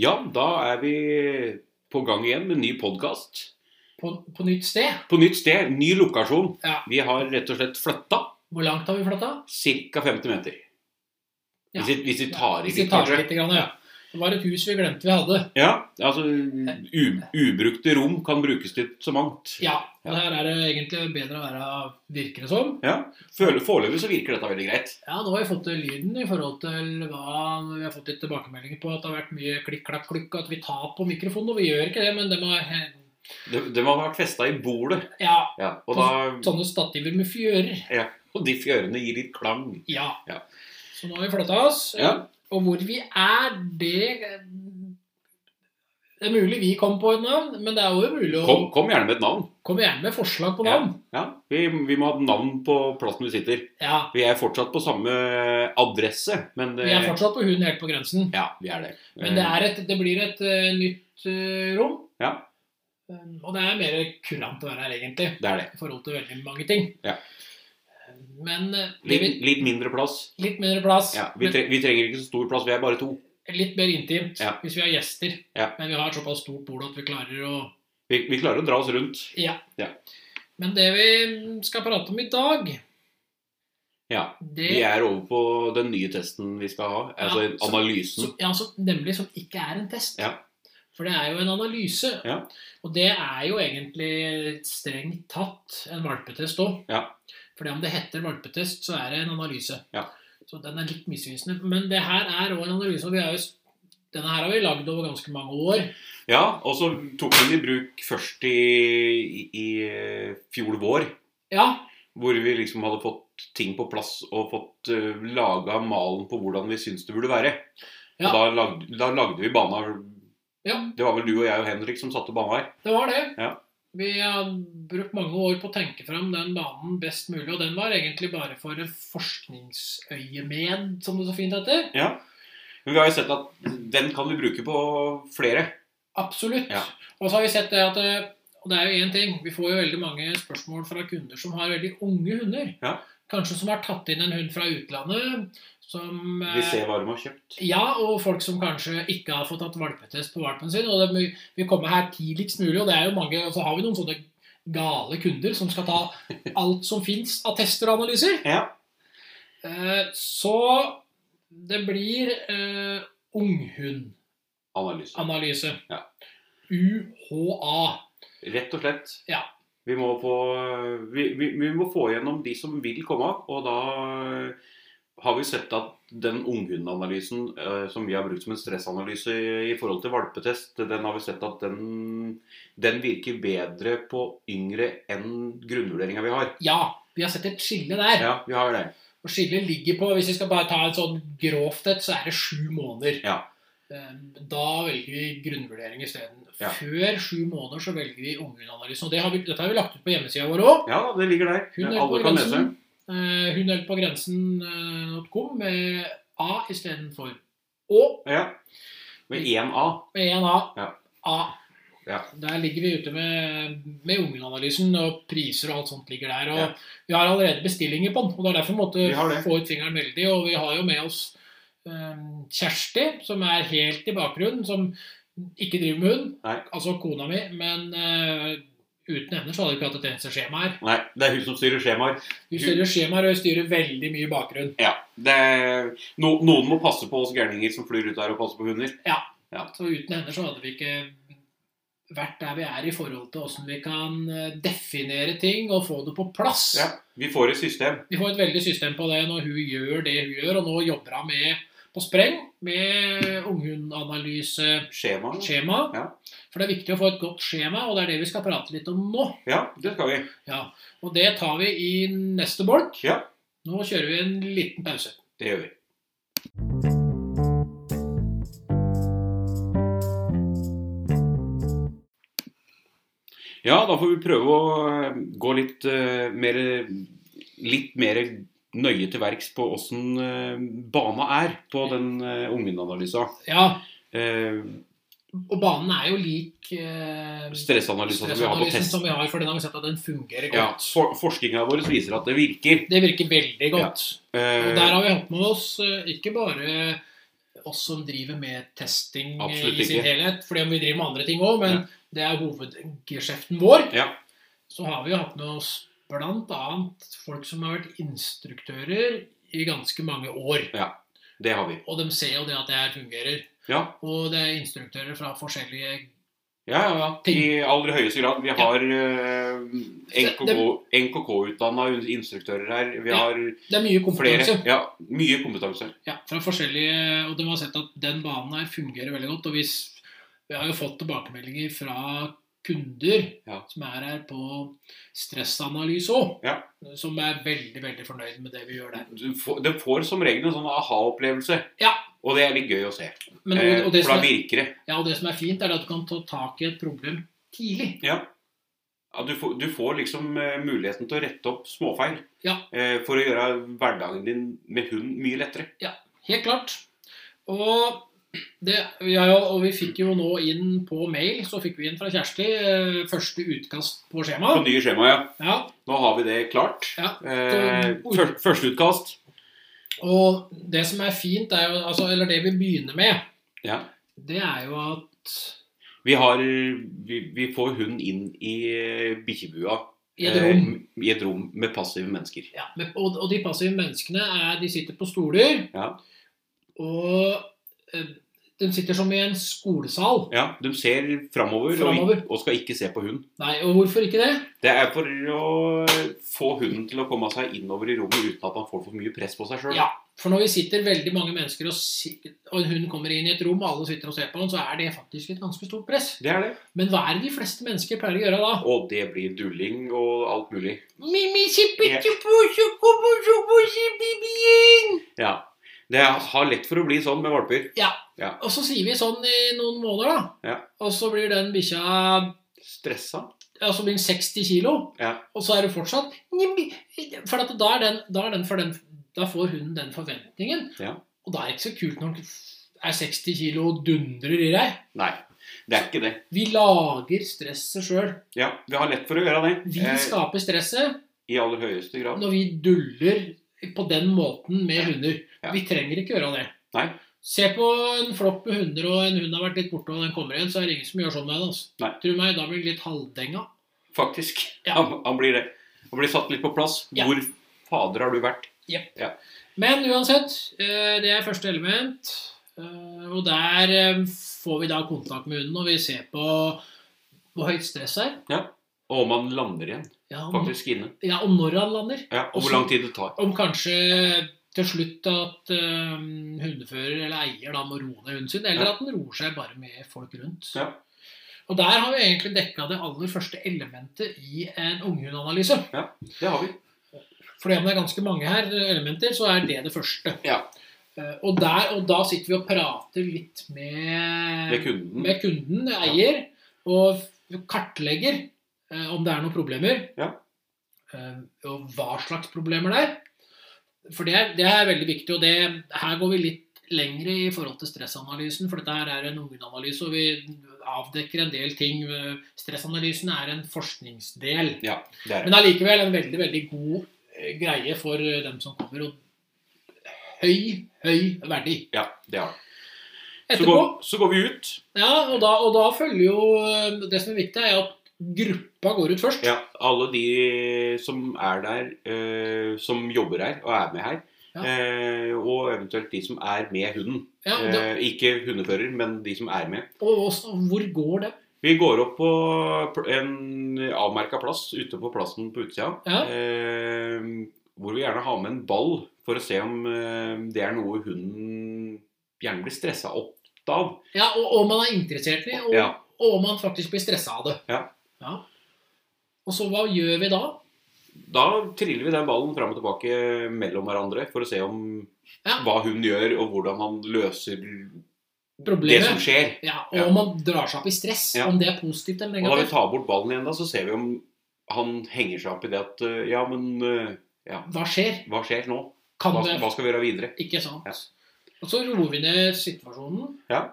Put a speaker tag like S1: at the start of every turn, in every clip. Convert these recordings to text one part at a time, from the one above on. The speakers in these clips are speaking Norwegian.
S1: Ja, da er vi på gang igjen med ny podkast.
S2: På, på nytt sted?
S1: På nytt sted, ny lokasjon.
S2: Ja.
S1: Vi har rett og slett flytta
S2: Hvor langt har vi flytta?
S1: ca. 50 meter.
S2: Ja.
S1: Hvis, vi, hvis vi tar i
S2: Hvis vi
S1: litt,
S2: tar
S1: kanskje.
S2: litt, grann, ja. Det var et hus vi glemte vi hadde.
S1: Ja, altså u, Ubrukte rom kan brukes til så mangt.
S2: Ja,
S1: Ja.
S2: Der er det egentlig bedre å være, virker det som.
S1: Ja, Føle- Foreløpig så virker dette veldig greit.
S2: Ja, nå har vi fått til lyden i forhold til hva Vi har fått litt tilbakemeldinger på at det har vært mye klikk, klakk, klukk, at vi tar på mikrofonen. Og vi gjør ikke det, men det må
S1: De, de har vært festa i bordet.
S2: Ja,
S1: Ja, og, da,
S2: sånne stativer med fjører.
S1: og de fjørene gir litt klang.
S2: Ja.
S1: Ja.
S2: Så nå har vi flytta oss.
S1: Ja.
S2: Og hvor vi er, det Det er mulig vi kom på et navn, men det er jo mulig å
S1: Kom, kom gjerne med et navn.
S2: Kom gjerne med forslag på navn.
S1: Ja, vi, vi må ha et navn på plassen vi sitter.
S2: Ja.
S1: Vi er fortsatt på samme adresse, men
S2: Vi er fortsatt på huden helt på grensen.
S1: Ja, vi er det.
S2: Men det, er et, det blir et eh, nytt eh, rom.
S1: Ja.
S2: Um, og det er mer kurant å være her, egentlig,
S1: Det er det.
S2: i forhold til veldig mange ting.
S1: Ja.
S2: Men eh, det
S1: Litt,
S2: blir
S1: litt mindre plass.
S2: litt mer plass.
S1: Ja, vi, tre, vi trenger ikke så stor plass, vi er bare to.
S2: men Litt mer intimt
S1: Ja.
S2: hvis vi har gjester.
S1: Ja.
S2: Men vi har et såpass stort bord at vi klarer å
S1: Vi, vi klarer å dra oss rundt.
S2: Men det vi skal prate om i dag,
S1: Ja.
S2: det
S1: Vi er over på den nye testen vi skal ha, altså
S2: Ja, så-
S1: analysen.
S2: Som, ja, som, nemlig som ikke er en test.
S1: Ja.
S2: For det er jo en analyse.
S1: Ja.
S2: Og det er jo egentlig strengt tatt en valpetest òg.
S1: Ja.
S2: For om det heter valpetest, så er det en analyse.
S1: Ja.
S2: Så den er litt misvisende. Men det her er òg en analyse. og vi er jo, s- Denne her har vi lagd over ganske mange år.
S1: Ja, og så tok vi den i bruk først i, i, i eh, fjor vår,
S2: Ja,
S1: hvor vi liksom hadde fått ting på plass og fått uh, laga malen på hvordan vi syns det burde være.
S2: Ja.
S1: Og da lagde, da lagde vi bana
S2: ja
S1: Det var vel du og jeg og Henrik som satte bana her.
S2: det var det.
S1: Ja.
S2: Vi har brukt mange år på å tenke fram den banen best mulig. Og den var egentlig bare for et forskningsøyemed, som det så fint heter.
S1: Men vi har jo sett at den kan vi bruke på flere.
S2: Absolutt.
S1: Ja.
S2: Og så har vi sett det at eh, Og det er jo én ting. Vi får jo veldig mange spørsmål fra kunder som har veldig unge hunder.
S1: Ja.
S2: Kanskje som har tatt inn en hund fra utlandet. Som eh,
S1: Vi ser hva de har kjøpt.
S2: Ja, og folk som kanskje ikke har fått tatt valpetest på valpen sin. Og det, må- vi kommer her tidligst mulig, og det er jo mange Og så har vi noen sånne gale kunder som skal ta alt som fins av tester og analyser.
S1: Ja.
S2: Eh, Så det blir eh, unghundanalyse.
S1: Analyse. Ja.
S2: UHA.
S1: Rett og slett.
S2: Ja.
S1: Vi må, få, vi, vi, vi må få gjennom de som vil komme, og da eh, har vi sett at den unghundanalysen eh, som vi har brukt som en stressanalyse i forhold til valpetest, den har vi sett at den, den virker bedre på yngre enn grunnvurderinga vi har.
S2: Ja, vi har sett et skille der.
S1: Ja, vi har det.
S2: Og skillet ligger på, hvis vi skal bare ta en sånn grovt et, så er det sju måneder.
S1: Ja.
S2: Eh, Da velger vi grunnvurdering isteden.
S1: Ja.
S2: Før sju måneder så velger vi ungehundanalysen. Og det har vi, dette har vi lagt ut på hjemmesida vår òg.
S1: Ja, det ligger der. Alle kan lese.
S2: eh, på grensen.com med A istedenfor Å
S1: Ja. Med én A.
S2: med én A.
S1: Ja.
S2: A.
S1: Ja.
S2: Der ligger vi ute med, med ungehundanalysen, og priser og alt sånt ligger der. Og
S1: Ja.
S2: Vi har allerede bestillinger på den, og det er derfor vi måtte
S1: Vi har det.
S2: få ut fingeren veldig. Og vi har jo med oss eh, Kjersti, som er helt i bakgrunnen, som ikke driver med hund.
S1: Nei.
S2: Altså kona mi, men eh, uten henne så hadde vi ikke hatt et eneste skjema her.
S1: Nei, det er hun som styrer skjemaer.
S2: Vi styrer skjemaer og vi styrer veldig mye bakgrunn.
S1: Ja. Det, no, noen må passe på oss gærninger som flyr ut her og passer på hunder.
S2: Så uten henne så hadde vi ikke vært der vi er i forhold til åssen vi kan eh, definere ting og få det på plass.
S1: Ja. Vi får et system.
S2: Vi får et veldig system på det når hun gjør det hun gjør, og nå jobber hun med på spreng med unghundanalyse-skjema.
S1: Skjema. Ja.
S2: For det er viktig å få et godt skjema, og det er det vi skal prate litt om nå.
S1: Ja, det skal vi.
S2: Og det tar vi i neste bolk.
S1: Ja.
S2: Nå kjører vi en liten pause.
S1: Det gjør vi. Ja, da får vi prøve å eh, gå litt eh, mer litt mer nøye til verks på åssen eh, bana er på den uh, ungdomsanalysa.
S2: Ja,
S1: Eh,
S2: og banen er jo lik eh,
S1: stressanalysa som vi har på
S2: stressanalysen
S1: test.
S2: som vi har, for den har vi sett at den fungerer
S1: Ja,
S2: godt.
S1: for, Forskninga vår viser at det virker.
S2: Det virker veldig godt.
S1: Eh,
S2: Og der har vi hatt med oss eh, ikke bare oss som driver med testing eh,
S1: Absolutt
S2: i sin
S1: ikke.
S2: helhet. Fordi om vi driver med andre ting òg, men det er hovedgeskjeften vår.
S1: Ja.
S2: Så har vi jo hatt med oss bl.a. folk som har vært instruktører i ganske mange år.
S1: Det har vi.
S2: Og de ser jo det at det her fungerer.
S1: Ja.
S2: Og det er instruktører fra forskjellige
S1: Ja, ja, ja. I aller høyeste grad. Vi har eh,
S2: Så
S1: NKK NKK-utdanna instruktører her. Vi
S2: Ja,
S1: har
S2: Det er mye kompetanse.
S1: flere Ja, mye kompetanse.
S2: Ja, fra forskjellige Og de har sett at den banen her fungerer veldig godt. Og hvis, vi har jo fått tilbakemeldinger fra kunder
S1: Ja.
S2: som er her på stressanalyse òg,
S1: Ja.
S2: som er veldig veldig fornøyd med det vi gjør der.
S1: Du får- Det får som regel en sånn aha-opplevelse.
S2: Ja.
S1: Og det er litt gøy å se.
S2: Men,
S1: Eh,
S2: og, og, det
S1: For
S2: som
S1: da
S2: er,
S1: virker det.
S2: ja, og det som er fint, er at du kan ta tak i et problem tidlig.
S1: Ja. Ja, du, får, du får liksom eh, muligheten til å rette opp småfeil.
S2: Ja.
S1: eh, for å gjøre hverdagen din med hund mye lettere.
S2: Helt klart. Og, det, vi har jo, og vi fikk jo nå inn på mail, så fikk vi inn fra Kjersti, eh, første utkast på
S1: På
S2: skjemaet.
S1: nye skjema, ja.
S2: Ja,
S1: Nå har vi det klart.
S2: Ja.
S1: Eh, før, Førsteutkast.
S2: Og det som er fint, er jo, altså, eller det vi begynner med,
S1: Ja.
S2: det er jo at
S1: Vi, har, vi, vi får hund inn i eh, bikkjebua.
S2: i et rom,
S1: Eh, I et rom med passive mennesker.
S2: ja, men- og, og de passive menneskene er, de sitter på stoler,
S1: Ja.
S2: og eh, de sitter som i en skolesal.
S1: Ja, De ser framover og,
S2: Fremover.
S1: ikk- og skal ikke se på hund.
S2: Nei, og hvorfor ikke det?
S1: Det er for å få hunden til å komme seg innover i rommet uten at han får for mye press på seg sjøl.
S2: Ja. For når vi sitter veldig mange mennesker, og, si, og en hund kommer inn i et rom, og alle sitter og ser på den, så er det faktisk et ganske stort press.
S1: Det er det.
S2: Men hva er det de fleste mennesker pleier å gjøre da?
S1: Og det blir dulling og alt mulig.
S2: Mimi,
S1: Ja. Ja. Det har lett for å bli sånn med valper.
S2: Og så sier vi sånn i noen måneder, da.
S1: Ja.
S2: Og så blir den bikkja
S1: Stressa.
S2: ja, så blir den 60 kilo,
S1: Ja.
S2: og så er det fortsatt For at da, er den, da, er den for den, da får hunden den forventningen.
S1: Ja.
S2: Og da er det ikke så kult når den er 60 kilo og dundrer i deg.
S1: Nei, det er ikke det.
S2: Vi lager stresset sjøl.
S1: Ja, Vi har lett for å gjøre det. Eh,
S2: Vi skaper stresset
S1: I aller høyeste grad.
S2: når vi duller på den måten med hunder.
S1: Ja.
S2: Vi trenger ikke gjøre det.
S1: Nei.
S2: Se på en flokk med hunder, og en hund har vært litt borte, og den kommer igjen, så er det ingen som gjør sånn med den. Altså.
S1: Nei.
S2: Tror meg, da blir den litt halvdenga.
S1: Faktisk.
S2: Ja.
S1: Han, han blir det. Han blir satt litt på plass.
S2: Ja.
S1: Hvor fader har du vært?
S2: Men uansett, eh, det er første element. eh, Og der eh, får vi da kontakt med hunden, og vi ser på hvor høyt stress er.
S1: Og om han lander igjen,
S2: Ja, om,
S1: faktisk inne.
S2: ja, og når han lander.
S1: Ja, og
S2: Også-
S1: hvor lang tid det tar.
S2: Om kanskje til slutt at eh, hundefører eller eier da må roe ned hunden sin, eller
S1: Ja.
S2: at den roer seg bare med folk rundt.
S1: Ja.
S2: Og der har vi egentlig dekka det aller første elementet i en unghundanalyse.
S1: Det har vi.
S2: Fordi om det er ganske mange her eh, elementer, så er det det første.
S1: Ja.
S2: Eh, Og, der, og da sitter vi og prater litt med,
S1: Med kunden.
S2: Eh, med kunden, eier, og f- kartlegger eh, om det er noen problemer.
S1: Ja.
S2: Eh, og hva slags problemer det er. For det, er- det er veldig viktig, og det, her går vi litt lengre i forhold til stressanalysen. For dette her er en unganalyse, og vi avdekker en del ting. Eh, Stressanalysen er en forskningsdel.
S1: Det er det.
S2: Men allikevel en veldig, veldig god eh, greie for eh, dem som kommer. Og høy, høy verdi.
S1: Ja, det har det. Så
S2: Etterpå,
S1: går, så går vi ut.
S2: ja, og da, og da følger jo eh, Det som er viktig, er at gruppa går ut først.
S1: Ja, alle de som er der, eh, som jobber her og er med her.
S2: Ja.
S1: Eh, og eventuelt de som er med hunden.
S2: Ja, og, da,
S1: Eh, ikke hundefører, men de som er med.
S2: og, også, hvor går det?
S1: Vi går opp på pl- en avmerka plass ute på plassen på utsida.
S2: Ja.
S1: Eh, hvor vi gjerne har med en ball for å se om eh, det er noe hunden gjerne blir stressa opp av.
S2: Ja, og om man er interessert i, og,
S1: Ja.
S2: og om man faktisk blir stressa av det.
S1: Ja.
S2: Ja. Og så hva gjør vi da?
S1: Da triller vi den ballen fram og tilbake mellom hverandre for å se om
S2: Ja.
S1: hva hunden gjør, og hvordan han løser det som
S2: Problemet.
S1: skjer.
S2: Ja, og
S1: Ja.
S2: om man drar seg opp i stress,
S1: Ja.
S2: om det er positivt eller
S1: Og da vi
S2: negativt.
S1: tar bort ballen igjen, da, så ser vi om han henger seg opp i det at eh, Ja, men eh,
S2: Hva skjer?
S1: hva skjer nå?
S2: Kan
S1: Hva,
S2: det
S1: hva skal vi gjøre videre?
S2: Ikke sant. Og så roer vi ned situasjonen.
S1: Ja.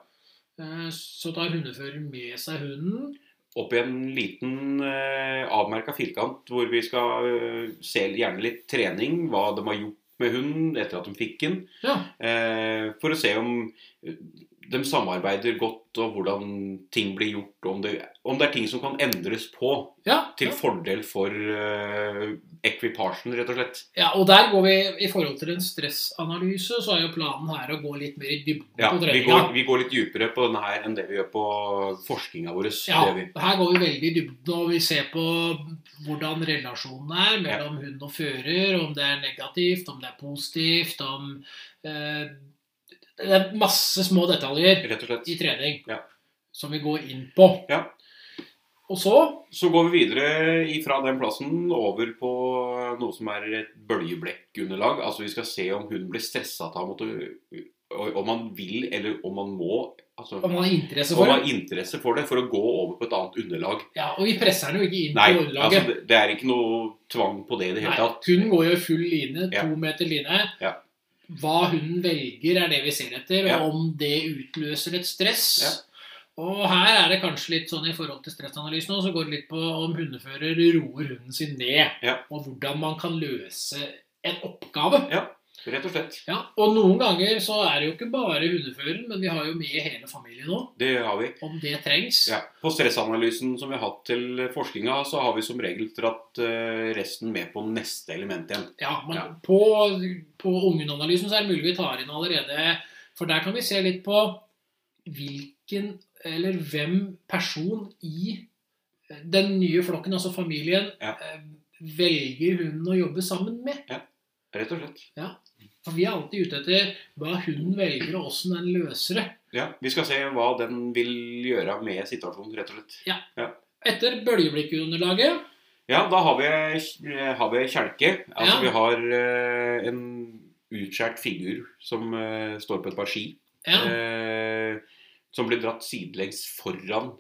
S2: Eh, Så tar hundefører med seg hunden.
S1: opp i en liten eh, avmerka firkant hvor vi skal eh, se gjerne litt trening, hva de har gjort med hunden etter at de fikk den.
S2: Ja.
S1: Eh, for å se om eh, de samarbeider godt, og hvordan ting blir gjort. og Om det, om det er ting som kan endres på
S2: Ja,
S1: til
S2: ja.
S1: fordel for eh, ekvipasjen, rett og slett.
S2: ja, og der går vi I forhold til en stressanalyse, så er jo planen her å gå litt mer i dybden
S1: Ja,
S2: på
S1: vi
S2: treninga.
S1: går, vi går litt dypere på denne her enn det vi gjør på forskninga vår.
S2: Ja,
S1: Det vi.
S2: her går vi veldig i dybden, og vi ser på hvordan relasjonen er mellom hund og fører, om det er negativt, om det er positivt, om eh, Det er masse små detaljer
S1: Rett og slett.
S2: i trening
S1: Ja.
S2: som vi går inn på.
S1: Ja.
S2: Og så
S1: Så går vi videre ifra den plassen over på noe som er et bøljeblekkunderlag. Altså vi skal se om hun blir stressa av å måtte- Om man vil, eller om man må. Altså,
S2: om man har interesse
S1: om
S2: for
S1: man har
S2: det.
S1: interesse for det, for å gå over på et annet underlag.
S2: Ja, og vi presser den jo ikke inn
S1: Nei,
S2: på
S1: altså,
S2: underlaget.
S1: det, det er ikke noe tvang på det i det hele
S2: Nei,
S1: tatt.
S2: Hunden går jo i full line,
S1: Ja.
S2: to meter line.
S1: Ja.
S2: Hva hunden velger, er det vi ser etter.
S1: Ja.
S2: Og om det utløser et stress. Og her er det kanskje litt sånn i forhold til stressanalysen også, så går det litt på om hundefører roer hunden sin ned.
S1: Ja.
S2: Og hvordan man kan løse en oppgave.
S1: Rett og slett.
S2: Ja, og noen ganger så er det jo ikke bare hundeføreren, men vi har jo med hele familien nå,
S1: Det har vi.
S2: om det trengs.
S1: Ja. På stressanalysen som vi har hatt til forskninga, så har vi som regel dratt eh, resten med på neste element igjen.
S2: Ja, men
S1: Ja.
S2: På, på ungenanalysen så er det mulig vi tar inn allerede For der kan vi se litt på hvilken eller hvem person i den nye flokken, altså familien,
S1: Ja.
S2: eh, velger hunden å jobbe sammen med.
S1: Rett og slett.
S2: For vi er alltid ute etter hva hunden velger, og åssen den løser det.
S1: Ja, Vi skal se hva den vil gjøre med situasjonen, rett og slett.
S2: Etter bøljeblikkunderlaget
S1: Ja, da har vi, eh, har vi kjelke. Altså
S2: Ja.
S1: vi har eh, en utskjært figur som eh, står på et par ski.
S2: ja,
S1: eh, som blir dratt sidelengs foran.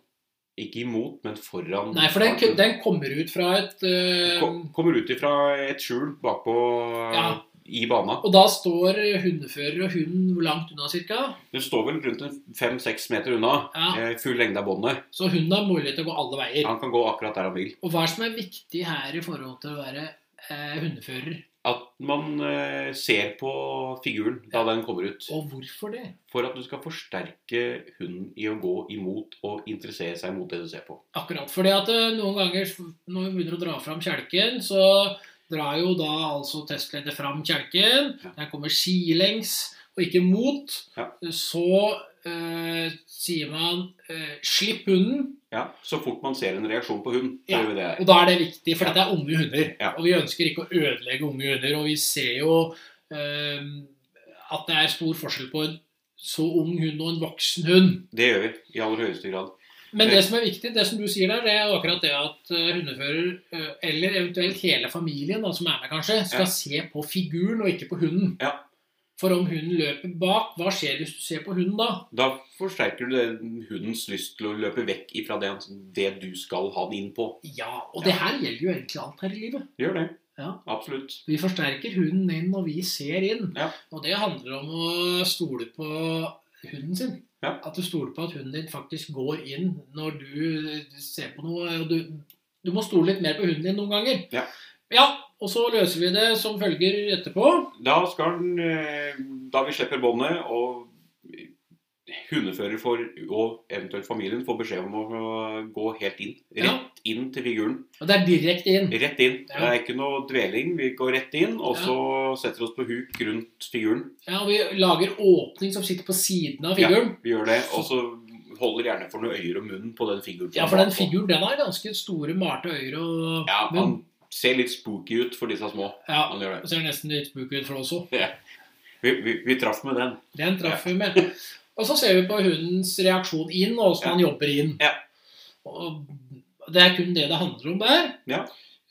S1: Ikke imot, men foran.
S2: Nei, for den, den kommer ut fra et eh,
S1: Ko- Kommer ut ifra et skjul bakpå
S2: Ja.
S1: i bana.
S2: Og da står hundefører og hunden hvor langt unna cirka.
S1: Den står vel rundt en fem-seks meter unna.
S2: Ja.
S1: eh, Full lengde av båndet.
S2: Så hunden har mulighet til å gå alle veier.
S1: Han kan gå akkurat der han vil.
S2: Og hva er det som er viktig her i forhold til å være eh, hundefører?
S1: At man eh, ser på figuren da den kommer ut.
S2: Og hvorfor det?
S1: For at du skal forsterke hunden i å gå imot og interessere seg mot det du ser på.
S2: Akkurat. fordi at eh, noen ganger s- når vi begynner å dra fram kjelken, så drar jo da altså testleder fram kjelken.
S1: Ja.
S2: Den kommer sidelengs og ikke mot.
S1: Ja.
S2: Så eh, sier man eh, 'slipp hunden',
S1: Ja, Så fort man ser en reaksjon på hund, så
S2: Ja.
S1: gjør vi det.
S2: og da er det viktig, for dette er unge hunder.
S1: Ja.
S2: Og vi ønsker ikke å ødelegge unge hunder. Og vi ser jo eh, at det er stor forskjell på en så ung hund og en voksen hund.
S1: Det gjør vi i aller høyeste grad.
S2: Men det som er viktig, det som du sier der, det er akkurat det at eh, hundefører, eh, eller eventuelt hele familien da, som er med kanskje, skal
S1: Ja.
S2: se på figuren og ikke på hunden.
S1: Ja.
S2: For om hunden løper bak, hva skjer hvis du ser på hunden da?
S1: Da forsterker du det- hundens lyst til å løpe vekk ifra det, han- det du skal ha den inn på.
S2: Ja, og
S1: Ja.
S2: det her gjelder jo egentlig alt her i livet.
S1: Gjør det.
S2: Ja.
S1: Absolutt.
S2: Vi forsterker hunden inn, og vi ser inn.
S1: Ja.
S2: Og det handler om å stole på hunden sin.
S1: Ja.
S2: At du stoler på at hunden din faktisk går inn når du ser på noe. Og du, du må stole litt mer på hunden din noen ganger.
S1: Ja.
S2: ja. Og så løser vi det som følger etterpå.
S1: Da skal den, eh, da vi slipper båndet og hundefører får, og eventuelt familien får beskjed om å gå helt inn.
S2: Ja.
S1: Rett inn til figuren.
S2: Og det er direkte inn.
S1: Rett inn.
S2: Ja.
S1: Det er ikke noe dveling. Vi går rett inn, og så setter oss på huk rundt figuren.
S2: Ja, og vi lager åpning som sitter på siden av
S1: Ja.
S2: figuren.
S1: Vi gjør det, og så holder gjerne for noen øyer og munn på den figuren.
S2: Ja, for den figuren den har ganske store, malte øyne og
S1: Ja,
S2: munn.
S1: han ser litt spooky ut for disse små.
S2: Ja,
S1: Han gjør det.
S2: og ser nesten litt spook ut for det også.
S1: Vi, vi, vi traff med den.
S2: Den traff vi med. Og så ser vi på hundens reaksjon inn, og hvordan han jobber inn.
S1: Ja.
S2: Og det er kun det det handler om der.
S1: Ja.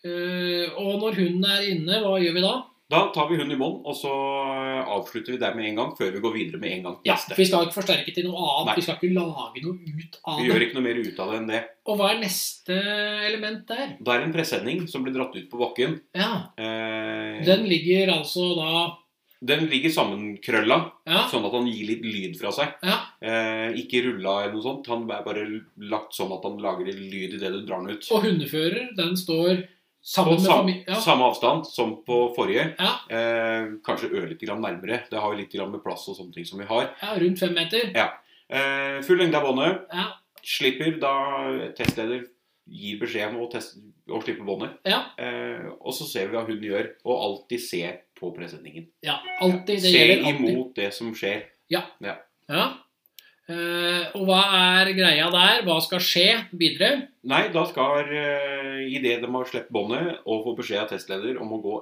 S2: Eh, og når hunden er inne, hva gjør vi da?
S1: Da tar vi hunden i bånd, og så avslutter vi der med en gang, før vi går videre med en gang til
S2: Ja,
S1: neste.
S2: Vi skal ikke forsterke til noe annet.
S1: Nei.
S2: Vi skal ikke lage noe ut av
S1: Vi
S2: det.
S1: gjør ikke noe mer ut av det enn det.
S2: Og hva er neste element der?
S1: Da er det en presenning som blir dratt ut på bakken.
S2: Ja,
S1: Eh, den,
S2: Den ligger altså da
S1: ligger sammenkrølla,
S2: Ja,
S1: sånn at han gir litt lyd fra seg.
S2: ja,
S1: Eh, ikke rulla eller noe sånt. Han er bare lagt sånn at han lager litt lyd idet du drar den ut.
S2: Og hundefører, den står
S1: På
S2: Sammen med
S1: sam,
S2: familie... Ja.
S1: samme avstand som på forrige.
S2: Ja.
S1: Eh, kanskje ørlite grann nærmere. Det har jo litt grann med plass og sånne ting som vi har.
S2: ja, rundt fem meter.
S1: Eh, full lengde av båndet.
S2: Ja.
S1: Slipper da testleder gir beskjed om å, teste, å slippe båndet.
S2: Ja.
S1: Eh, og så ser vi hva hun gjør, og alltid ser på presenningen.
S2: ja alltid. Det
S1: Se
S2: gjelder alltid.
S1: imot det som skjer.
S2: Ja. Eh, og hva er greia der? Hva skal skje videre?
S1: Nei, da skal eh, idet de har sluppet båndet og får beskjed av testleder om å gå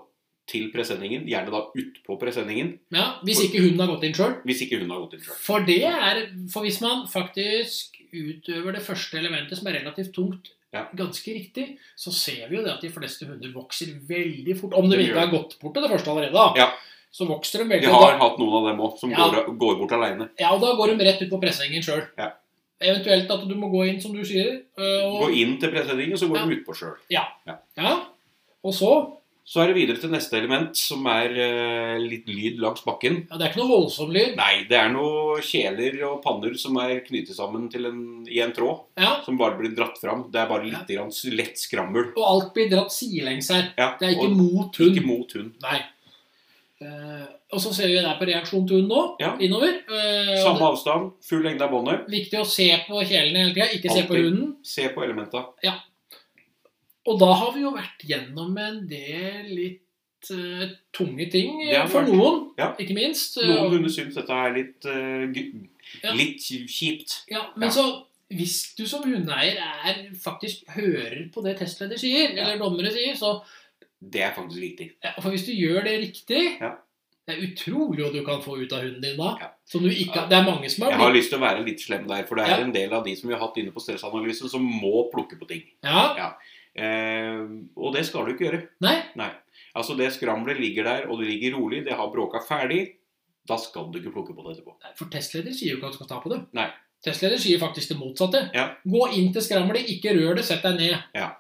S1: til presenningen, gjerne da utpå presenningen,
S2: Ja, Hvis ikke hunden har gått inn sjøl.
S1: hvis ikke hun har gått inn sjøl.
S2: For det er For hvis man faktisk utøver det første elementet, som er relativt tungt,
S1: Ja.
S2: ganske riktig, så ser vi jo det at de fleste hunder vokser veldig fort. Om
S1: Det
S2: de
S1: gjør
S2: ikke har gått bort til det første allerede, da,
S1: Ja.
S2: så vokser de
S1: Vi
S2: veldig. og
S1: har
S2: da-
S1: hatt noen av dem òg som
S2: Ja.
S1: går, går bort aleine.
S2: Ja, og da går de rett ut på pressengen sjøl.
S1: Ja.
S2: Eventuelt at du må gå inn, som du sier.
S1: Gå
S2: øh, Og,
S1: inn til presenningen, så går
S2: Ja.
S1: de utpå sjøl.
S2: ja, og så
S1: Så er det videre til neste element, som er eh, litt lyd langs bakken.
S2: ja, Det er ikke noe voldsom lyd.
S1: Nei, det er noen kjeler og panner som er knyttet sammen til en, i en tråd,
S2: Ja,
S1: som bare blir dratt fram. Det er bare litt grann s- lett skrammel.
S2: Og alt blir dratt sidelengs her.
S1: Ja,
S2: Det er ikke
S1: og
S2: mot hund.
S1: ikke mot hund.
S2: Nei. Eh, og så ser vi der på reaksjonen til hund nå,
S1: Ja.
S2: innover. Eh, og
S1: Samme avstand, full lengde av båndet.
S2: det er viktig å se på kjelene hele tida, ikke se på
S1: Alltid.
S2: hunden.
S1: Se på elementa.
S2: Og da har vi jo vært gjennom en del litt eh, tunge ting
S1: Det har
S2: eh, for
S1: vært.
S2: noen,
S1: Ja.
S2: ikke minst.
S1: Noen
S2: Eh,
S1: hunder syns dette er litt, eh, gu-
S2: Ja.
S1: litt kjipt.
S2: Ja, men
S1: Ja.
S2: så hvis du som hundeeier er, faktisk hører på det testleder sier,
S1: Ja.
S2: eller dommere sier, så
S1: Det er faktisk viktig.
S2: ja, For hvis du gjør det riktig
S1: Ja.
S2: Det er utrolig hva du kan få ut av hunden din da.
S1: Ja.
S2: Som du ikke, det er mange som har
S1: Jeg har
S2: blitt
S1: lyst til å være litt slem der, for det er
S2: Ja.
S1: en del av de som vi har hatt inne på stressanalyse, som må plukke på ting.
S2: ja.
S1: Eh, og det skal du ikke gjøre.
S2: Nei,
S1: Altså Det skramlet ligger der, og det ligger rolig, det har bråka ferdig. Da skal du ikke plukke på det etterpå.
S2: for testleder sier jo ikke at du skal ta på det.
S1: Nei.
S2: Testleder sier faktisk det motsatte.
S1: Ja.
S2: Gå inn til skramlet, ikke rør det, sett deg ned.
S1: Ja.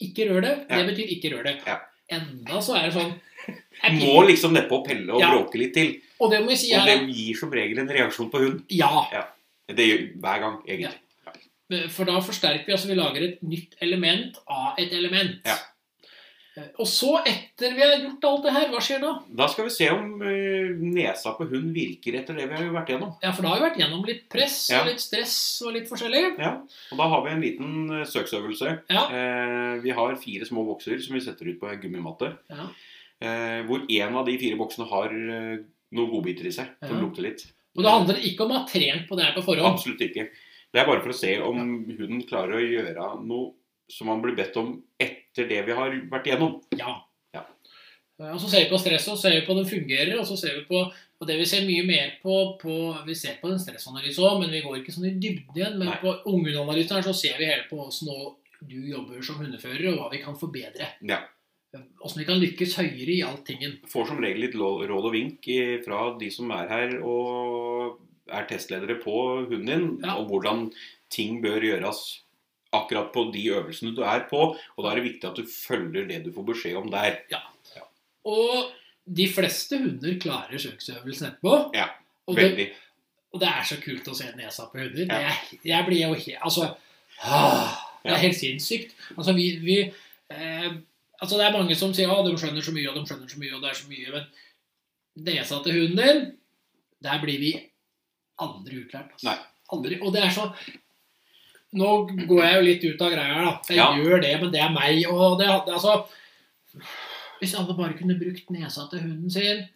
S2: Ikke rør det, det
S1: Ja.
S2: betyr ikke rør det.
S1: Ja.
S2: Enda så er det sånn jeg-
S1: Må liksom nedpå og pelle og
S2: Ja.
S1: bråke litt til.
S2: Og det må jeg si
S1: Og
S2: er
S1: det gir som regel en reaksjon på hund.
S2: ja.
S1: Det gjør hver gang, egentlig.
S2: For da forsterker vi, altså vi lager et nytt element av et element.
S1: Ja.
S2: Eh, Og så, etter vi har gjort alt det her, hva skjer da?
S1: Da skal vi se om eh, nesa på hund virker etter det vi har vært gjennom.
S2: Ja, for da har vi vært gjennom litt press
S1: Ja.
S2: og litt stress og litt forskjellig.
S1: Og da har vi en liten eh, søksøvelse.
S2: Ja.
S1: Eh, vi har fire små bokser som vi setter ut på en gummimatte.
S2: Ja.
S1: Eh, hvor én av de fire boksene har eh, noen godbiter i seg som
S2: Ja.
S1: lukter litt.
S2: Og det handler ikke om å ha trent på det her på forhånd.
S1: Absolutt ikke. Det er bare for å se om hunden klarer å gjøre noe som han blir bedt om etter det vi har vært igjennom.
S2: Ja.
S1: Ja.
S2: Eh, Og så ser vi på stresset, og så ser vi på den fungerer, og så ser vi på og det vi ser mye mer på, på Vi ser på en stressanalyse òg, men vi går ikke sånn i dybden igjen. Men
S1: Nei.
S2: på ungehundanalysen her så ser vi hele på åssen du jobber som hundefører, og hva vi kan forbedre. Eh,
S1: Ja.
S2: Åssen vi kan lykkes høyere i alt tingen.
S1: Får som regel litt lå- råd og vink eh, fra de som er her og er testledere på hunden din,
S2: Ja.
S1: og hvordan ting bør gjøres akkurat på de øvelsene du er på. Og da er det viktig at du følger det du får beskjed om der.
S2: Og de fleste hunder klarer søksøvelsen etterpå.
S1: Ja,
S2: og, det,
S1: Veldig.
S2: og det er så kult å se nesa på hunder.
S1: Ja.
S2: Jeg, jeg blir jo helt Altså ah, Det
S1: Ja.
S2: er helt sinnssykt. Altså, vi, vi eh, Altså, det er mange som sier at de skjønner så mye, og de skjønner så mye, og det er så mye, men nesa til hunden din Der blir vi aldri utlært. altså.
S1: Nei.
S2: Aldri. Og det er så Nå går jeg jo litt ut av greia, da. Jeg
S1: Ja.
S2: gjør det, men det er meg. Og det, det altså Hvis alle bare kunne brukt nesa til hunden sin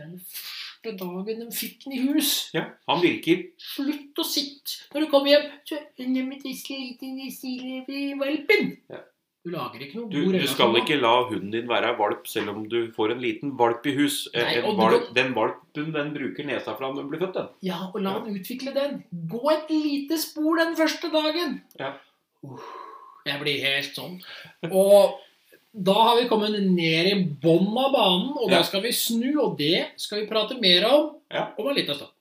S2: den første dagen de fikk den i hus
S1: Ja, han virker.
S2: Slutt å sitte når du kommer hjem. Så, «Nei, men det sliter, det sliter, valpen.
S1: Ja.
S2: Du lager ikke noe
S1: Du,
S2: god
S1: du
S2: relasjon
S1: skal
S2: da.
S1: ikke la hunden din være valp selv om du får en liten valp i hus. Eh,
S2: Nei,
S1: en
S2: og du
S1: valp, den valpen den bruker nesa fra den blir født, den.
S2: Ja, og la den utvikle den. Gå et lite spor den første dagen.
S1: Ja.
S2: Uff, jeg blir helt sånn. Og da har vi kommet ned i bånn av banen, og da
S1: Ja.
S2: skal vi snu, og det skal vi prate mer om
S1: Ja.
S2: om en liten stund.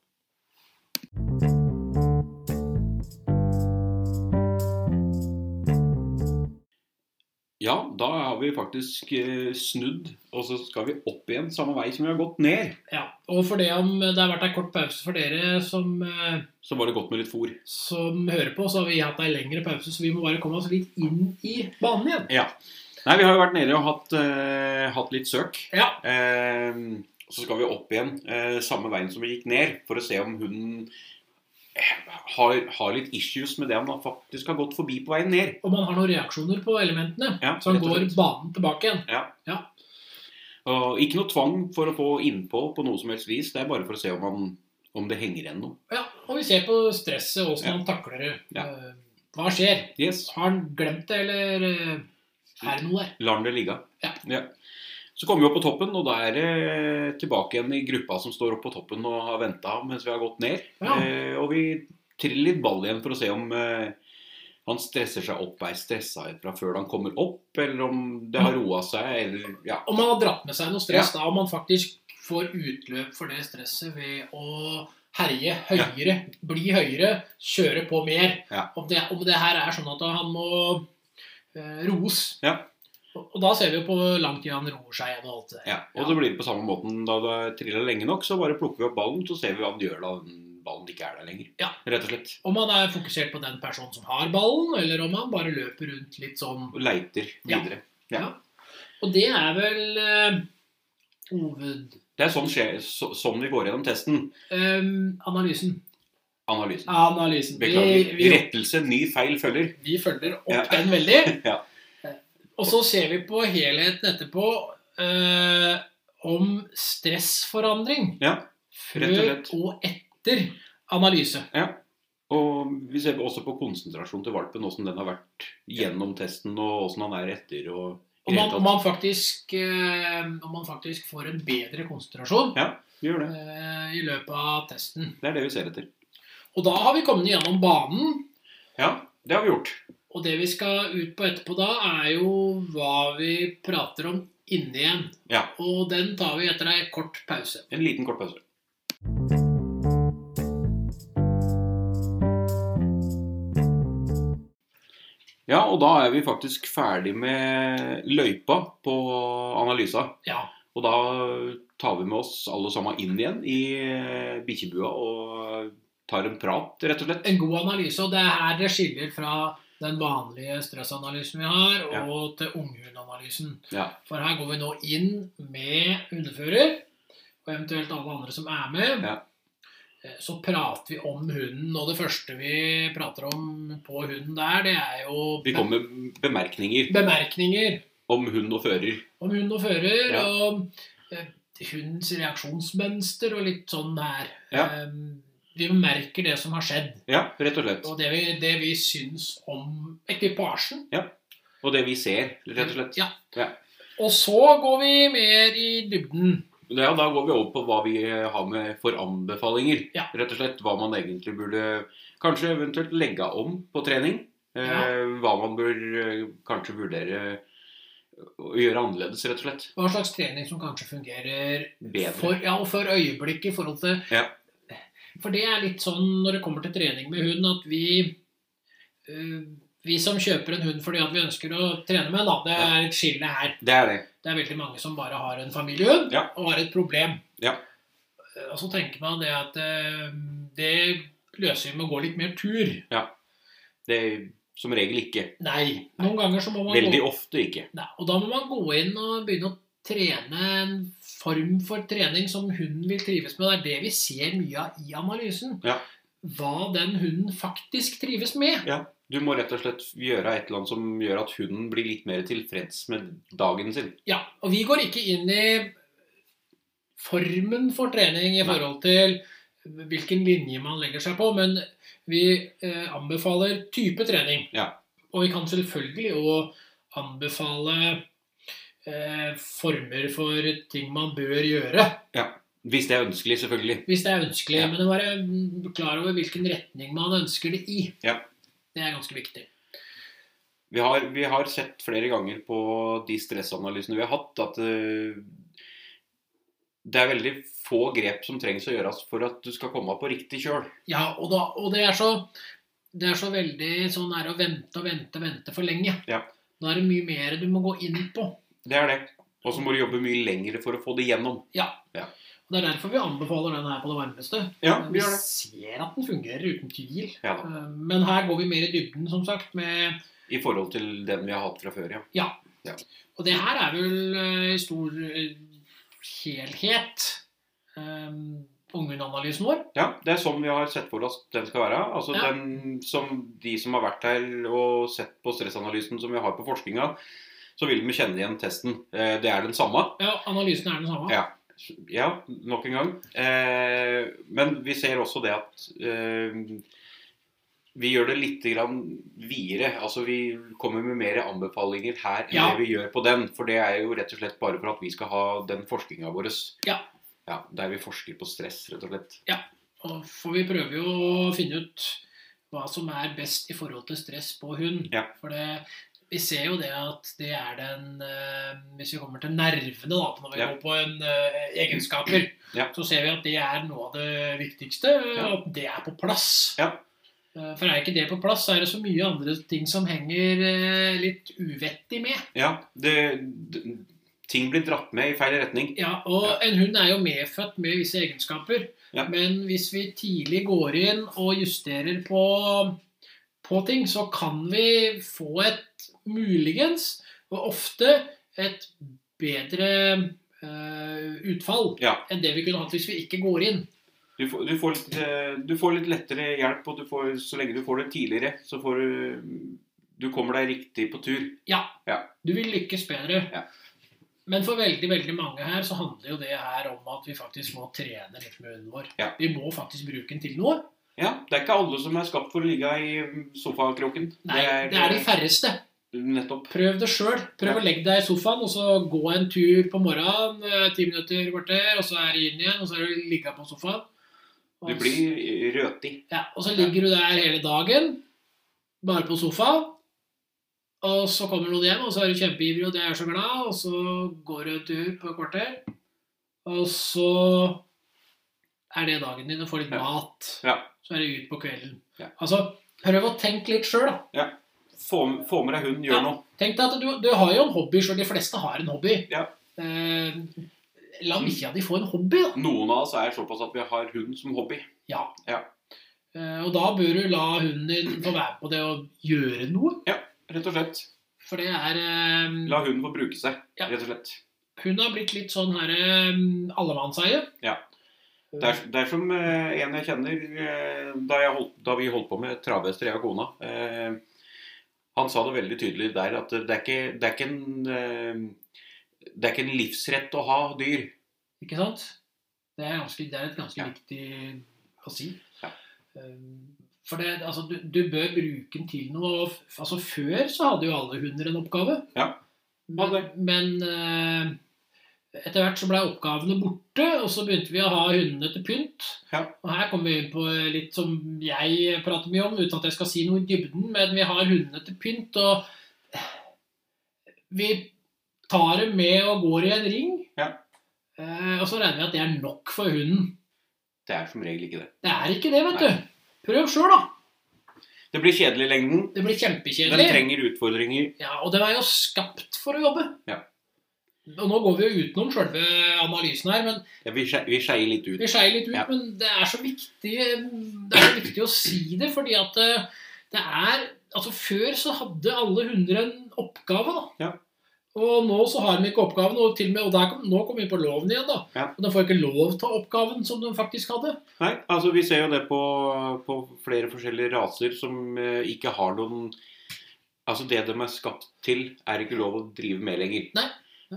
S1: Ja, da har vi faktisk eh, snudd, og så skal vi opp igjen samme vei som vi har gått ned.
S2: Ja, og for det om det har vært en kort pause for dere som eh,
S1: Så var det godt med litt fôr.
S2: som hører på, så har vi hatt ei lengre pause, så vi må bare komme oss litt inn i banen igjen.
S1: Ja. Nei, vi har jo vært nede og hatt, eh, hatt litt søk.
S2: Ja.
S1: Eh, så skal vi opp igjen eh, samme veien som vi gikk ned, for å se om hunden eh, har, har litt issues med det om han faktisk har gått forbi på veien ned.
S2: Og man har noen reaksjoner på elementene.
S1: Ja,
S2: Så han
S1: rett og
S2: går
S1: slett.
S2: banen tilbake igjen.
S1: Og ikke noe tvang for å få innpå på noe som helst vis. Det er bare for å se om, han, om det henger igjen noe.
S2: Ja, Og vi ser på stresset, åssen
S1: Ja.
S2: han takler det.
S1: Ja.
S2: Eh, Hva skjer?
S1: Yes.
S2: Har han glemt det, eller eh, er det noe der?
S1: Lar han det ligge.
S2: Ja.
S1: Så kommer vi opp på toppen, og da er det tilbake igjen i gruppa som står oppe på toppen og har venta mens vi har gått ned.
S2: Ja.
S1: Eh, og vi triller litt ball igjen for å se om eh, han stresser seg opp, er stressa fra før han kommer opp, eller om det har roa seg, eller ja.
S2: Om han har dratt med seg noe stress, da om han faktisk får utløp for det stresset ved å herje høyere, bli høyere, kjøre på mer.
S1: Ja.
S2: Om, det, om det her er sånn at han må eh, roes.
S1: Ja.
S2: Og, og da ser vi jo på hvor lang tid han roer seg igjen og alt det der.
S1: ja. Og så blir det på samme måten da det triller lenge nok, så bare plukker vi opp ballen, så ser vi hva han gjør da den ballen ikke er der lenger.
S2: Ja.
S1: Rett og slett.
S2: Om han er fokusert på den personen som har ballen, eller om han bare løper rundt litt sånn.
S1: Og leiter
S2: Ja.
S1: videre.
S2: Og det er vel eh, hoved...
S1: Det er sånn, skje, så, sånn vi går gjennom testen.
S2: eh, analysen.
S1: Analysen.
S2: Analysen. Vi-
S1: Beklager.
S2: vi-
S1: Rettelse, ny feil følger.
S2: Vi følger opp
S1: Ja.
S2: den veldig.
S1: Ja.
S2: Og så ser vi på helheten etterpå eh, om stressforandring
S1: Ja,
S2: før
S1: rett og slett.
S2: og etter analyse.
S1: Og vi ser også på konsentrasjonen til valpen, åssen den har vært gjennom testen, og åssen han er etter. og i
S2: Om
S1: det
S2: man,
S1: hele tatt.
S2: om, man faktisk, eh, om man faktisk får en bedre konsentrasjon
S1: Gjør det.
S2: eh, i løpet av testen.
S1: Det er det vi ser etter.
S2: Og da har vi kommet gjennom banen.
S1: Ja, det har vi gjort.
S2: Og det vi skal ut på etterpå da, er jo hva vi prater om inne igjen.
S1: Ja.
S2: Og den tar vi etter ei kort pause.
S1: En liten kort pause. Ja, og da er vi faktisk ferdig med løypa på analysa.
S2: Ja.
S1: Og da tar vi med oss alle sammen inn igjen i eh, bikkjebua og tar en prat, rett og slett.
S2: en god analyse, og det er her det skiller fra den vanlige stressanalysen vi har,
S1: Ja.
S2: og til unghundanalysen.
S1: Ja.
S2: For her går vi nå inn med hundefører, og eventuelt alle andre som er med.
S1: Ja.
S2: Eh, Så prater vi om hunden, og det første vi prater om på hunden der, det er jo
S1: Vi kommer med bemerkninger
S2: bemerkninger
S1: om hund og fører.
S2: om hund og fører,
S1: Ja.
S2: og eh, hundens reaksjonsmønster og litt sånn her.
S1: Ja.
S2: Eh, Vi merker det som har skjedd.
S1: Ja, rett og slett.
S2: Og det vi, det vi syns om ekvipasjen.
S1: Og det vi ser, rett og slett.
S2: Ja.
S1: Ja.
S2: Og så går vi mer i dybden.
S1: Ja, da går vi over på hva vi har med for anbefalinger.
S2: Ja.
S1: Rett og slett hva man egentlig burde kanskje eventuelt legge om på trening. Eh, hva man bør eh, kanskje vurdere å gjøre annerledes, rett og slett.
S2: Hva slags trening som kanskje fungerer
S1: Bedre.
S2: for, ja, og for øyeblikket i forhold til
S1: Ja.
S2: For det er litt sånn når det kommer til trening med hund, at vi eh, vi som kjøper en hund fordi at vi ønsker å trene med, da, det
S1: Ja.
S2: er et skille her.
S1: Det er det.
S2: Det er veldig mange som bare har en familiehund
S1: Ja.
S2: og har et problem.
S1: Ja.
S2: Eh, Og så tenker man det at eh, det løser vi med å gå litt mer tur.
S1: Det er som regel ikke.
S2: Nei. Noen ganger så må man
S1: Veldig
S2: gå,
S1: ofte ikke.
S2: nei, Og da må man gå inn og begynne å trene en form for trening som hunden vil trives med. Det er det vi ser mye av i analysen.
S1: Ja.
S2: Hva den hunden faktisk trives med.
S1: Du må rett og slett gjøre et eller annet som gjør at hunden blir litt mer tilfreds med dagen sin.
S2: Ja, Og vi går ikke inn i formen for trening i
S1: Nei.
S2: forhold til hvilken linje man legger seg på, men vi eh, anbefaler type trening.
S1: Ja.
S2: Og vi kan selvfølgelig òg anbefale eh, former for ting man bør gjøre.
S1: Hvis det er ønskelig, selvfølgelig.
S2: Hvis det er ønskelig.
S1: Ja.
S2: Men å være mm, klar over hvilken retning man ønsker det i.
S1: Ja.
S2: Det er ganske viktig.
S1: Vi har, vi har sett flere ganger på de stressanalysene vi har hatt, at eh, det er veldig få grep som trengs å gjøres for at du skal komme på riktig kjøl.
S2: Ja, og, da, og det, er så, det er så veldig sånn her å vente og vente og vente for lenge.
S1: Ja.
S2: Nå er det mye mer du må gå inn på.
S1: Det er det. Og så må du jobbe mye lenger for å få det gjennom.
S2: Og Det er derfor vi anbefaler den her på det varmeste.
S1: Ja,
S2: Vi ser at den fungerer uten tvil.
S1: Ja, da.
S2: Eh, Men her går vi mer i dybden, som sagt, med
S1: I forhold til den vi har hatt fra før, ja.
S2: Ja.
S1: Ja.
S2: Og det her er vel eh, i stor eh, helhet eh, ungdomsanalysen vår.
S1: Ja, det er sånn vi har sett for oss den skal være. Altså
S2: Ja.
S1: den som De som har vært her og sett på stressanalysen som vi har på forskninga, så vil vi kjenne igjen testen. Eh, Det er den samme.
S2: Ja, analysen er den samme.
S1: Ja. Ja, nok en gang. Eh, Men vi ser også det at eh, vi gjør det litt grann videre. Altså Vi kommer med mer anbefalinger her enn
S2: Ja.
S1: det vi gjør på den. For det er jo rett og slett bare for at vi skal ha den forskninga vår.
S2: Ja.
S1: ja. Der vi forsker på stress, rett og slett.
S2: Og for vi prøver jo å finne ut hva som er best i forhold til stress på hund.
S1: Ja.
S2: For det, vi ser jo det at det er den eh, Hvis vi kommer til nervene, da, når vi
S1: Ja.
S2: går på en eh, egenskaper,
S1: Ja.
S2: så ser vi at det er noe av det viktigste.
S1: Ja.
S2: At det er på plass.
S1: Ja.
S2: Eh, For er ikke det på plass, så er det så mye andre ting som henger eh, litt uvettig med.
S1: Ja, det, d- ting blir dratt med i feil retning.
S2: Ja, og en hund er jo medfødt med visse egenskaper.
S1: Ja.
S2: Men hvis vi tidlig går inn og justerer på, på ting, så kan vi få et muligens, og ofte et bedre eh, utfall
S1: Ja.
S2: enn det vi kunne hatt hvis vi ikke går inn.
S1: Du får, du, får litt, eh, du får litt lettere hjelp, og du får, så lenge du får det tidligere, så får du Du kommer deg riktig på tur.
S2: Du vil lykkes bedre.
S1: Ja.
S2: Men for veldig veldig mange her så handler jo det her om at vi faktisk må trene litt med hunden vår.
S1: Ja.
S2: Vi må faktisk bruke den til noe.
S1: Ja, det er ikke alle som er skapt for å ligge i sofakroken. eh,
S2: Nei, det er de færreste.
S1: Nettopp.
S2: Prøv det sjøl. Prøv
S1: Ja.
S2: å legge deg i sofaen og så gå en tur på morgenen. eh, Ti minutter, kvarter, og så er det inn igjen. Og så er du ligga på sofaen. Og
S1: Du
S2: s-
S1: blir røtig.
S2: ja, Og så ligger du der hele dagen, bare på sofaen. Og så kommer noen hjem, og så er du kjempeivrig, og det er så glad. Og så går du en tur på et kvarter. Og så er det dagen din, og får litt
S1: Ja.
S2: mat.
S1: Ja.
S2: Så er det ut på kvelden.
S1: Ja.
S2: Altså, prøv å tenke litt sjøl, da.
S1: Få, få med deg hunden, gjør
S2: Ja.
S1: noe.
S2: Tenk deg at du, du har jo en hobby, så de fleste har en hobby.
S1: Ja.
S2: Eh, la bikkja di få en hobby, da.
S1: Noen av oss er såpass at vi har hunden som hobby.
S2: Ja.
S1: Ja.
S2: Eh, og da bør du la hunden din få være med på det og gjøre noe.
S1: Rett og slett.
S2: For det er eh,
S1: La hunden få bruke seg.
S2: Ja.
S1: Rett og slett.
S2: Hun har blitt litt sånn her eh, allemannseie.
S1: Ja. Det er, det er som eh, en jeg kjenner eh, da, jeg holdt, da vi holdt på med travhester, jeg og kona. Eh, han sa det veldig tydelig der at det er ikke, det er ikke, en, eh, det er ikke en livsrett å ha dyr.
S2: Ikke sant? Det er, ganske, det er et ganske
S1: Ja.
S2: viktig å si.
S1: Ja.
S2: Eh, For det, altså, du, du bør bruke den til noe. og f- Altså, før så hadde jo alle hunder en oppgave.
S1: Ja.
S2: Men,
S1: Hadde.
S2: men eh, etter hvert så ble oppgavene borte, og så begynte vi å ha hundene til pynt.
S1: Ja.
S2: Og her kommer vi inn på litt som jeg prater mye om, uten at jeg skal si noe i dybden, men vi har hundene til pynt, og vi tar dem med og går i en ring.
S1: Ja.
S2: Eh, og så regner vi at det er nok for hunden.
S1: Det er som regel ikke det.
S2: Det er ikke det, vet
S1: Nei.
S2: du. Prøv sjøl, da.
S1: Det blir kjedelig i lengden.
S2: Det blir
S1: Den
S2: kjempekjedelig.
S1: trenger utfordringer.
S2: Ja, og den er jo skapt for å jobbe.
S1: Ja.
S2: Og nå går vi jo utenom sjølve analysen her, men
S1: Ja, vi skei- vi skeier litt ut.
S2: vi skeier litt ut.
S1: Ja.
S2: Men det er så viktig Det er så viktig å si det, fordi at eh, det er Altså, før så hadde alle hunder en oppgave, da.
S1: Ja.
S2: Og nå så har de ikke oppgaven, og til og med, og der kom, nå kom vi på loven igjen, da.
S1: Ja.
S2: Og de får ikke lov til oppgaven som de faktisk hadde.
S1: Nei, altså Vi ser jo det på, på flere forskjellige raser som eh, ikke har noen Altså Det de er skapt til, er ikke lov å drive med lenger.
S2: Nei.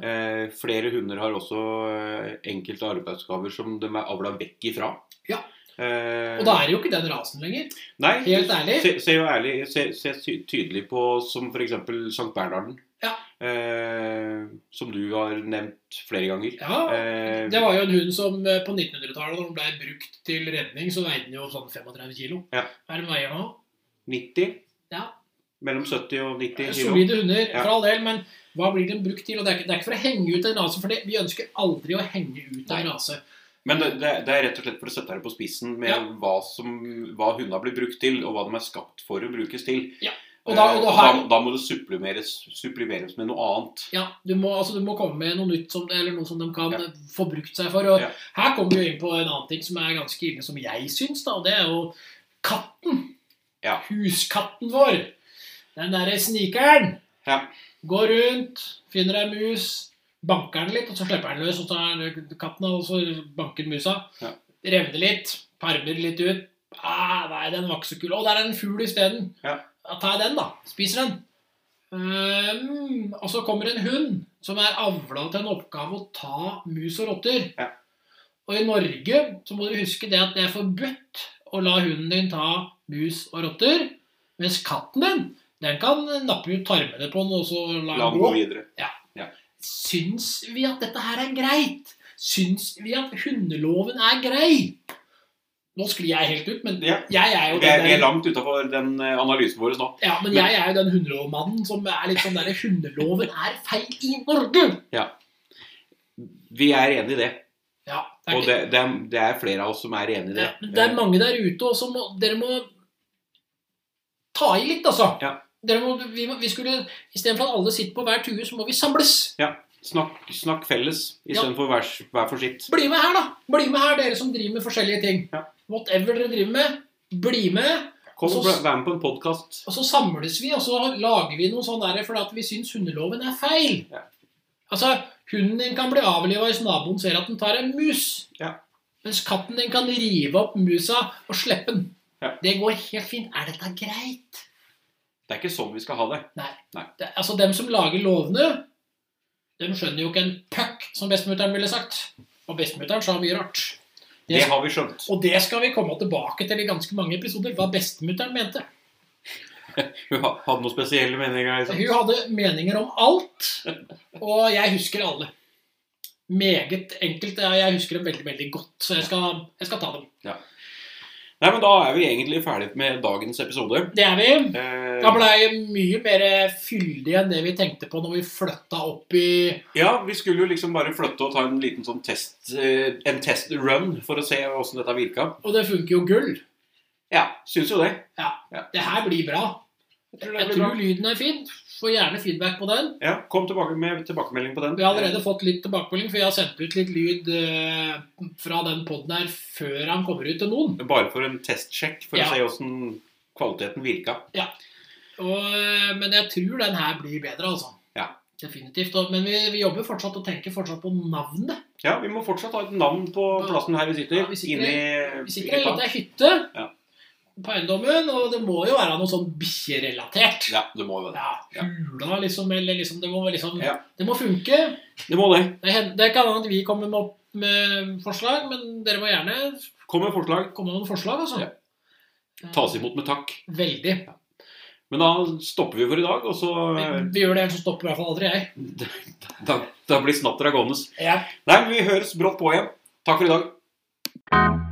S1: Eh, flere hunder har også eh, enkelte arbeidsgaver som de er avla vekk ifra.
S2: Ja.
S1: Eh,
S2: Og da er det jo ikke den rasen lenger.
S1: nei,
S2: Helt ærlig.
S1: Se, se jo ærlig, se, se ty- tydelig på som f.eks. Sankt Bernharden.
S2: Ja.
S1: Eh, som du har nevnt flere ganger.
S2: Ja,
S1: Eh,
S2: Det var jo en hund som eh, på 1900-tallet, når den ble brukt til redning, så veide den jo sånn 35 kilo.
S1: Ja.
S2: Hva er det den veier nå?
S1: 90?
S2: Ja.
S1: Mellom 70 og 90 kilo.
S2: Solide hunder,
S1: Ja.
S2: for all del, men hva blir den brukt til? Og det er ikke, det er ikke for å henge ut en rase, for det, vi ønsker aldri å henge ut
S1: Nei.
S2: en rase.
S1: Men det, det, det er rett og slett for å sette deg på spissen med
S2: Ja.
S1: hva, som, hva hundene blir brukt til, og hva de er skapt for å brukes til.
S2: Ja. Og da-
S1: Eh,
S2: og da har-
S1: da, da må det supplimeres, supplimeres med noe annet.
S2: Ja, du må, altså, du må komme med noe nytt som det, eller noe som de kan
S1: Ja.
S2: eh, få brukt seg for. Og
S1: Ja.
S2: her kommer vi jo inn på en annen ting som er ganske ille, som jeg syns, da, og det er jo katten.
S1: Ja.
S2: Huskatten vår. Den derre snikeren.
S1: Ja.
S2: Går rundt, finner ei mus, banker den litt, og så slipper den løs. Og så er katten og så banker musa.
S1: Ja.
S2: Revner litt, parmer litt ut. Ah, nei, den var ikke så kul. Å, der er en fugl isteden.
S1: Ja.
S2: Ja, Ta den, da. Spiser den. Ehm, og så kommer en hund som er avla til en oppgave å ta mus og rotter.
S1: Ja.
S2: Og i Norge så må du huske det at det er forbudt å la hunden din ta mus og rotter. Mens katten din, den kan nappe ut tarmene på den og så la
S1: La
S2: den
S1: den gå
S2: gå.
S1: videre.
S2: Syns vi at dette her er greit? Syns vi at hundeloven er grei? Nå sklir jeg helt ut, men
S1: Ja.
S2: jeg er jo
S1: Vi er,
S2: den
S1: vi er
S2: der,
S1: langt utafor den eh, analysen vår nå.
S2: ja, men jeg er jo den hundelovmannen som er litt sånn der Hundeloven er feil i Norge!
S1: Vi er enig i det.
S2: Ja, det er
S1: Og
S2: ikke-
S1: det, det, er, det er flere av oss som er enig i det. Eh,
S2: Ja, men det er mange der ute også. Må, dere må ta i litt, altså.
S1: Ja.
S2: Dere må, vi, må, vi skulle, Istedenfor at alle sitter på hver tue, så må vi samles.
S1: Snakk, snakk felles
S2: Ja.
S1: istedenfor hver, s- hver for sitt.
S2: Bli med her, da! Bli med her, dere som driver med forskjellige ting.
S1: Ja.
S2: Whatever dere driver med, bli med.
S1: Kom og
S2: Og så-
S1: bli- vær med på en podkast.
S2: Og så samles vi, og så lager vi noe sånn der fordi at vi syns hundeloven er feil.
S1: Ja.
S2: Altså, hunden din kan bli avliva hvis naboen ser at den tar en mus.
S1: Ja.
S2: Mens katten din kan rive opp musa og slippe den.
S1: Ja.
S2: Det går helt fint. Er dette greit?
S1: Det er ikke sånn vi skal ha det.
S2: det, altså dem som lager lovene, de skjønner jo ikke en puck, som bestemutteren ville sagt. Og bestemutteren sa mye rart. Det-
S1: Det har vi skjønt.
S2: Og det skal vi komme tilbake til i ganske mange episoder, hva bestemutteren mente.
S1: Hun ha- hadde noen spesielle meninger. Liksom.
S2: Hun hadde meninger om alt, og jeg husker alle. Meget enkelt. og Jeg husker dem veldig, veldig godt, så jeg skal, jeg skal ta dem.
S1: Nei, men Da er vi egentlig ferdig med dagens episode.
S2: Det er vi.
S1: Eh,
S2: Da blei mye mer fyldig enn det vi tenkte på når vi flytta opp i
S1: ja, Vi skulle jo liksom bare flytte og ta en liten sånn test eh, En testrun for å se åssen dette virka.
S2: Og det funker jo gull.
S1: Ja, syns jo det.
S2: Det her blir bra.
S1: Jeg tror det
S2: Jeg
S1: blir bra.
S2: tror lyden er fin. Får gjerne feedback på den.
S1: Ja, Kom tilbake med tilbakemelding på den.
S2: Vi har allerede fått litt tilbakemelding, for jeg har sendt ut litt lyd eh, fra den poden her før han kommer ut til noen.
S1: Eh, Bare for en testsjekk, for
S2: Ja.
S1: å se åssen kvaliteten virka.
S2: Og, eh, men jeg tror den her blir bedre, altså.
S1: Ja.
S2: Definitivt. Og, men vi, vi jobber fortsatt og tenker fortsatt på navnet.
S1: Ja, vi må fortsatt ha et navn på plassen her vi sitter.
S2: Ja, vi sitter-
S1: inni
S2: Vi sitter i ei
S1: hytta.
S2: lita hytte
S1: Ja.
S2: på eiendommen, og det må jo være noe sånn bikkjerelatert.
S1: Ja, det må jo det.
S2: Ja, hula, liksom, eller liksom Det må liksom
S1: Ja.
S2: Det må funke.
S1: Det må det.
S2: Det, hen- det kan hende at vi kommer med, opp med forslag, men dere må gjerne
S1: Kom med forslag.
S2: komme med noen forslag, altså. Eh,
S1: Ja. Tas imot med takk.
S2: Veldig.
S1: Men da stopper vi for i dag, og så
S2: Vi, vi gjør det, ellers så stopper i hvert fall aldri jeg.
S1: Da, da blir snattera gående.
S2: Ja.
S1: Nei, men vi høres brått på igjen. Takk for i dag.